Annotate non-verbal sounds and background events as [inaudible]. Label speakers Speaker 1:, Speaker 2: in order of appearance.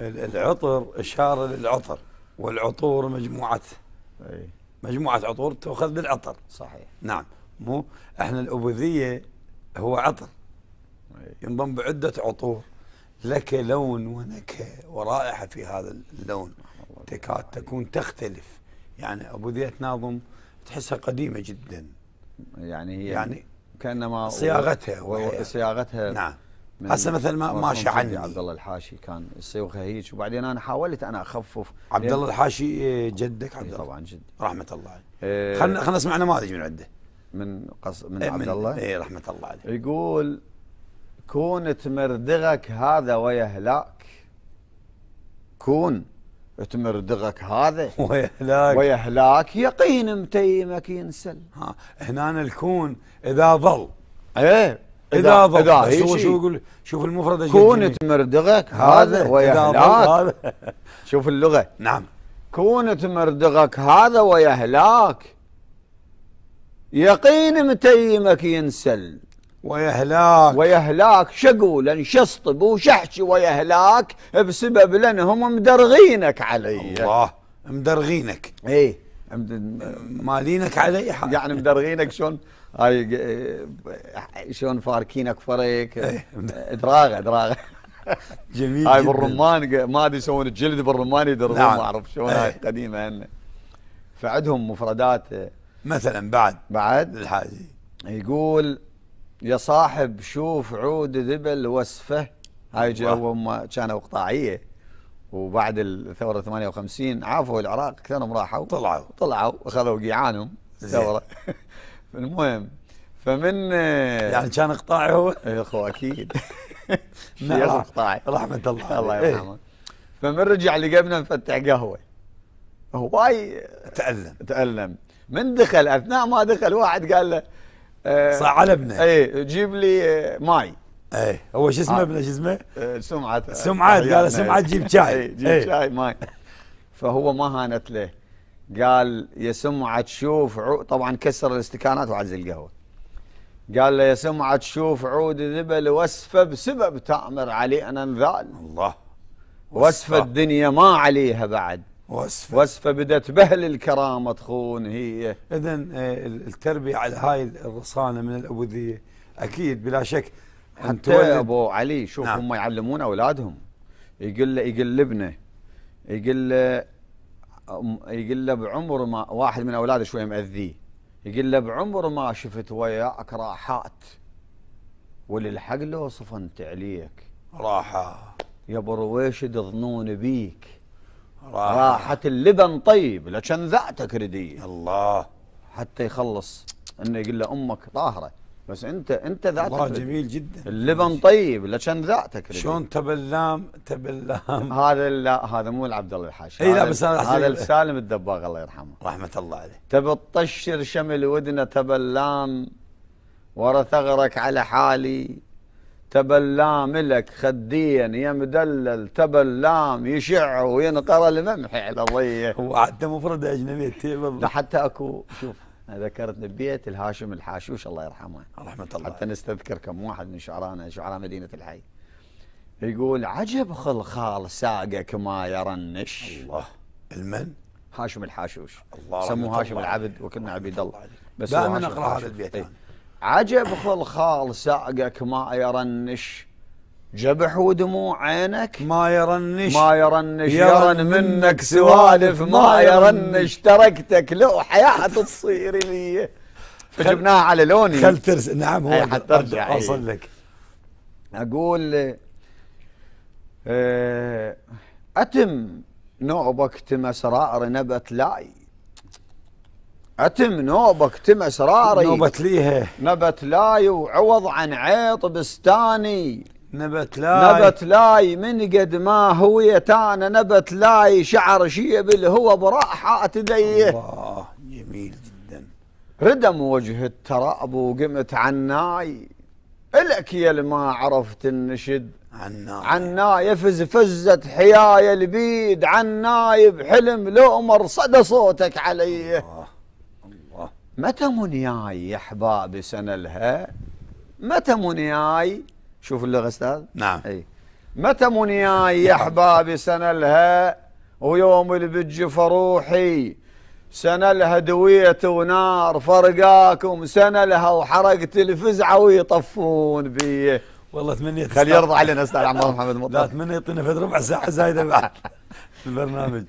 Speaker 1: العطر إشارة للعطر والعطور مجموعته
Speaker 2: اي
Speaker 1: مجموعة عطور تؤخذ بالعطر
Speaker 2: صحيح
Speaker 1: نعم مو احنا الأبوذية هو عطر
Speaker 2: اي
Speaker 1: ينضم بعدة عطور لك لون ونكهة ورائحة في هذا اللون تكاد تكون تختلف يعني أبوذية ناظم تحسها قديمة جدا
Speaker 2: يعني أه هي
Speaker 1: يعني
Speaker 2: كانما
Speaker 1: صياغتها
Speaker 2: و-
Speaker 1: وهي-
Speaker 2: صياغتها
Speaker 1: نعم
Speaker 2: من
Speaker 1: هسه مثل ما
Speaker 2: مرحوم
Speaker 1: ماشي
Speaker 2: سيدي
Speaker 1: عني
Speaker 2: عبد الله الحاشي كان يصيغها هيك وبعدين انا حاولت انا اخفف
Speaker 1: عبد الله الحاشي إيه، جدك عبد
Speaker 2: إي
Speaker 1: الله
Speaker 2: طبعا جدي
Speaker 1: رحمة الله عليه
Speaker 2: إيه،
Speaker 1: خلنا خلنا نسمع نماذج من عنده
Speaker 2: من قص من
Speaker 1: إيه،
Speaker 2: عبد الله
Speaker 1: اي رحمة الله عليه [laughs]
Speaker 2: يقول كون تمردغك هذا ويهلاك كون تمردغك هذا
Speaker 1: ويهلاك
Speaker 2: ويهلاك يقين متيمك ينسل
Speaker 1: ها هنا الكون إذا ظل
Speaker 2: ايه
Speaker 1: إيه، إذا ظل
Speaker 2: اذا
Speaker 1: شو شو
Speaker 2: يقول
Speaker 1: يقول شوف المفرد إيش
Speaker 2: كون
Speaker 1: يجيني.
Speaker 2: تمردغك هذا
Speaker 1: إذا ظل
Speaker 2: ويهلاك
Speaker 1: هذا
Speaker 2: شوف اللغه
Speaker 1: نعم
Speaker 2: كون تمردغك هذا ويهلاك يقين متيمك ينسل
Speaker 1: ويهلاك
Speaker 2: ويهلاك شقولا شسطب وشحشي ويهلاك بسبب لانهم مدرغينك علي
Speaker 1: الله مدرغينك
Speaker 2: ايه مد-
Speaker 1: مالينك على اي حال
Speaker 2: يعني مدرغينك شلون هاي ق- شلون فاركينك فريك
Speaker 1: إيه.
Speaker 2: دراغه دراغه
Speaker 1: جميل
Speaker 2: هاي
Speaker 1: جداً.
Speaker 2: بالرمان ق- ما ادري يسوون الجلد بالرمان يدرغون
Speaker 1: نعم.
Speaker 2: ما اعرف شلون هاي
Speaker 1: إيه.
Speaker 2: قديمه هن فعندهم مفردات آه،
Speaker 1: مثلا بعد
Speaker 2: بعد
Speaker 1: الحاجي
Speaker 2: يقول يا صاحب شوف عود ذبل وسفه هاي جا-
Speaker 1: الله.
Speaker 2: هو ما كانوا اقطاعيه وبعد الثوره 58 عافوا العراق كثرهم راحوا
Speaker 1: طلعوا
Speaker 2: طلعوا اخذوا قيعانهم
Speaker 1: [laughs]
Speaker 2: الثوره المهم فمن
Speaker 1: يعني كان اقطاعي هو
Speaker 2: إيه، اخو اكيد
Speaker 1: [laughs]
Speaker 2: [laughs]
Speaker 1: نعم.
Speaker 2: شيخ اقطاعي
Speaker 1: رحمة الله
Speaker 2: الله
Speaker 1: عليه.
Speaker 2: يرحمه فمن رجع لقبنا نفتح قهوه هواي
Speaker 1: إيه، تألم
Speaker 2: تألم من دخل اثناء ما دخل واحد قال له آه،
Speaker 1: صعلبنا.
Speaker 2: اي جيب لي آه، ماي
Speaker 1: اي إيه، هو شو اسمه
Speaker 2: آه.
Speaker 1: ابنه شو اسمه؟
Speaker 2: آه، سمعت
Speaker 1: سمعت، قال له سمعت جيب شاي. إيه.
Speaker 2: اي جيب
Speaker 1: إي.
Speaker 2: شاي ماي فهو ما هانت له قال يا سمعت شوف عو... طبعا كسر الاستكانات وعزل القهوه قال له يا سمعت شوف عود ذبل وسفه بسبب تامر علينا انذال
Speaker 1: الله
Speaker 2: وسفه الدنيا ما عليها بعد
Speaker 1: وصفه
Speaker 2: وسفه بدت بهل الكرامه تخون هي
Speaker 1: اذا التربيه آه، على هاي الرصانه من الابوذيه اكيد بلا شك أن
Speaker 2: حتى
Speaker 1: تولد-
Speaker 2: ابو علي شوف
Speaker 1: نعم.
Speaker 2: هم يعلمون اولادهم يقول له يقول لابنه يقول له أم- يقول له بعمر ما واحد من اولاده شويه مأذيه يقول له بعمر ما شفت وياك راحات وللحق لو صفنت عليك
Speaker 1: راحه
Speaker 2: يا برويشد ظنون بيك
Speaker 1: راحه
Speaker 2: راحة اللبن طيب لكن ذاتك رديه
Speaker 1: الله
Speaker 2: حتى يخلص انه يقول له امك طاهره بس انت انت ذاتك
Speaker 1: الله
Speaker 2: ردية.
Speaker 1: جميل جدا
Speaker 2: اللبن طيب لكن ذاتك ردية.
Speaker 1: شلون تبلام تبلام
Speaker 2: هذا لا هذا مو العبد الله الحاشي
Speaker 1: إي لا،
Speaker 2: هذا-
Speaker 1: بس أنا أحسب-
Speaker 2: هذا السالم الدباغ الله يرحمه
Speaker 1: رحمه الله عليه
Speaker 2: تبي تطشر شمل ودنه تبلام ورا ثغرك على حالي تبلام لك خديا يا مدلل تبلام يشع وينقر الممحي على ضيه
Speaker 1: هو حتى مفرده اجنبيه تيبل
Speaker 2: لا حتى اكو شوف أنا ذكرتني ببيت الهاشم الحاشوش الله يرحمه
Speaker 1: رحمه الله
Speaker 2: حتى
Speaker 1: عليه.
Speaker 2: نستذكر كم واحد من شعرانا شعراء مدينه الحي يقول عجب خلخال ساقك ما يرنش
Speaker 1: الله المن
Speaker 2: هاشم الحاشوش
Speaker 1: الله رحمة
Speaker 2: سموه هاشم
Speaker 1: الله
Speaker 2: العبد
Speaker 1: عليه.
Speaker 2: وكنا
Speaker 1: رحمة
Speaker 2: عبيد
Speaker 1: الله
Speaker 2: الله
Speaker 1: عليه.
Speaker 2: هو
Speaker 1: دائماً
Speaker 2: هاشم
Speaker 1: أقرأ
Speaker 2: الحاشوش.
Speaker 1: هذا البيت
Speaker 2: إي.
Speaker 1: أنا.
Speaker 2: عجب خلخال ساقك ما يرنش جبح ودموع عينك
Speaker 1: ما يرنش
Speaker 2: ما يرنش
Speaker 1: يرن
Speaker 2: يرن منك سوالف ما يرنش تركتك لو حياة تصير لي فجبناها على لوني
Speaker 1: خل ترس نعم هو
Speaker 2: إي، حتى أرجع، إي.
Speaker 1: اوصل لك
Speaker 2: اقول آه، اتم نوبك تم اسرار نبت لاي اتم نوبك تم اسراري
Speaker 1: نوبة ليها
Speaker 2: نبت لاي وعوض عن عيط بستاني
Speaker 1: نبت لا
Speaker 2: نبت لاي من قد ما هويتانا نبت لاي شعر شيب الهوى براحة تديه
Speaker 1: الله جميل جدا
Speaker 2: ردم وجه التراب وقمت عناي الك يا اللي ما عرفت النشد
Speaker 1: عنا
Speaker 2: عناي فز فزت حياي البيد عناي بحلم لؤمر صدى صوتك عليه
Speaker 1: الله الله
Speaker 2: متى منياي يا احبابي سنلها متى منياي شوف اللغه استاذ
Speaker 1: نعم.
Speaker 2: اي متى منياي يا احبابي سنه لها ويوم البج روحي سنه لها دويت ونار فرقاكم سنه لها وحرقت الفزعه ويطفون بي
Speaker 1: والله تمنيت
Speaker 2: خلي يرضى علينا استاذ عمار محمد
Speaker 1: لا
Speaker 2: مطلع
Speaker 1: اتمنى يعطينا فد ربع ساعه زايده بعد البرنامج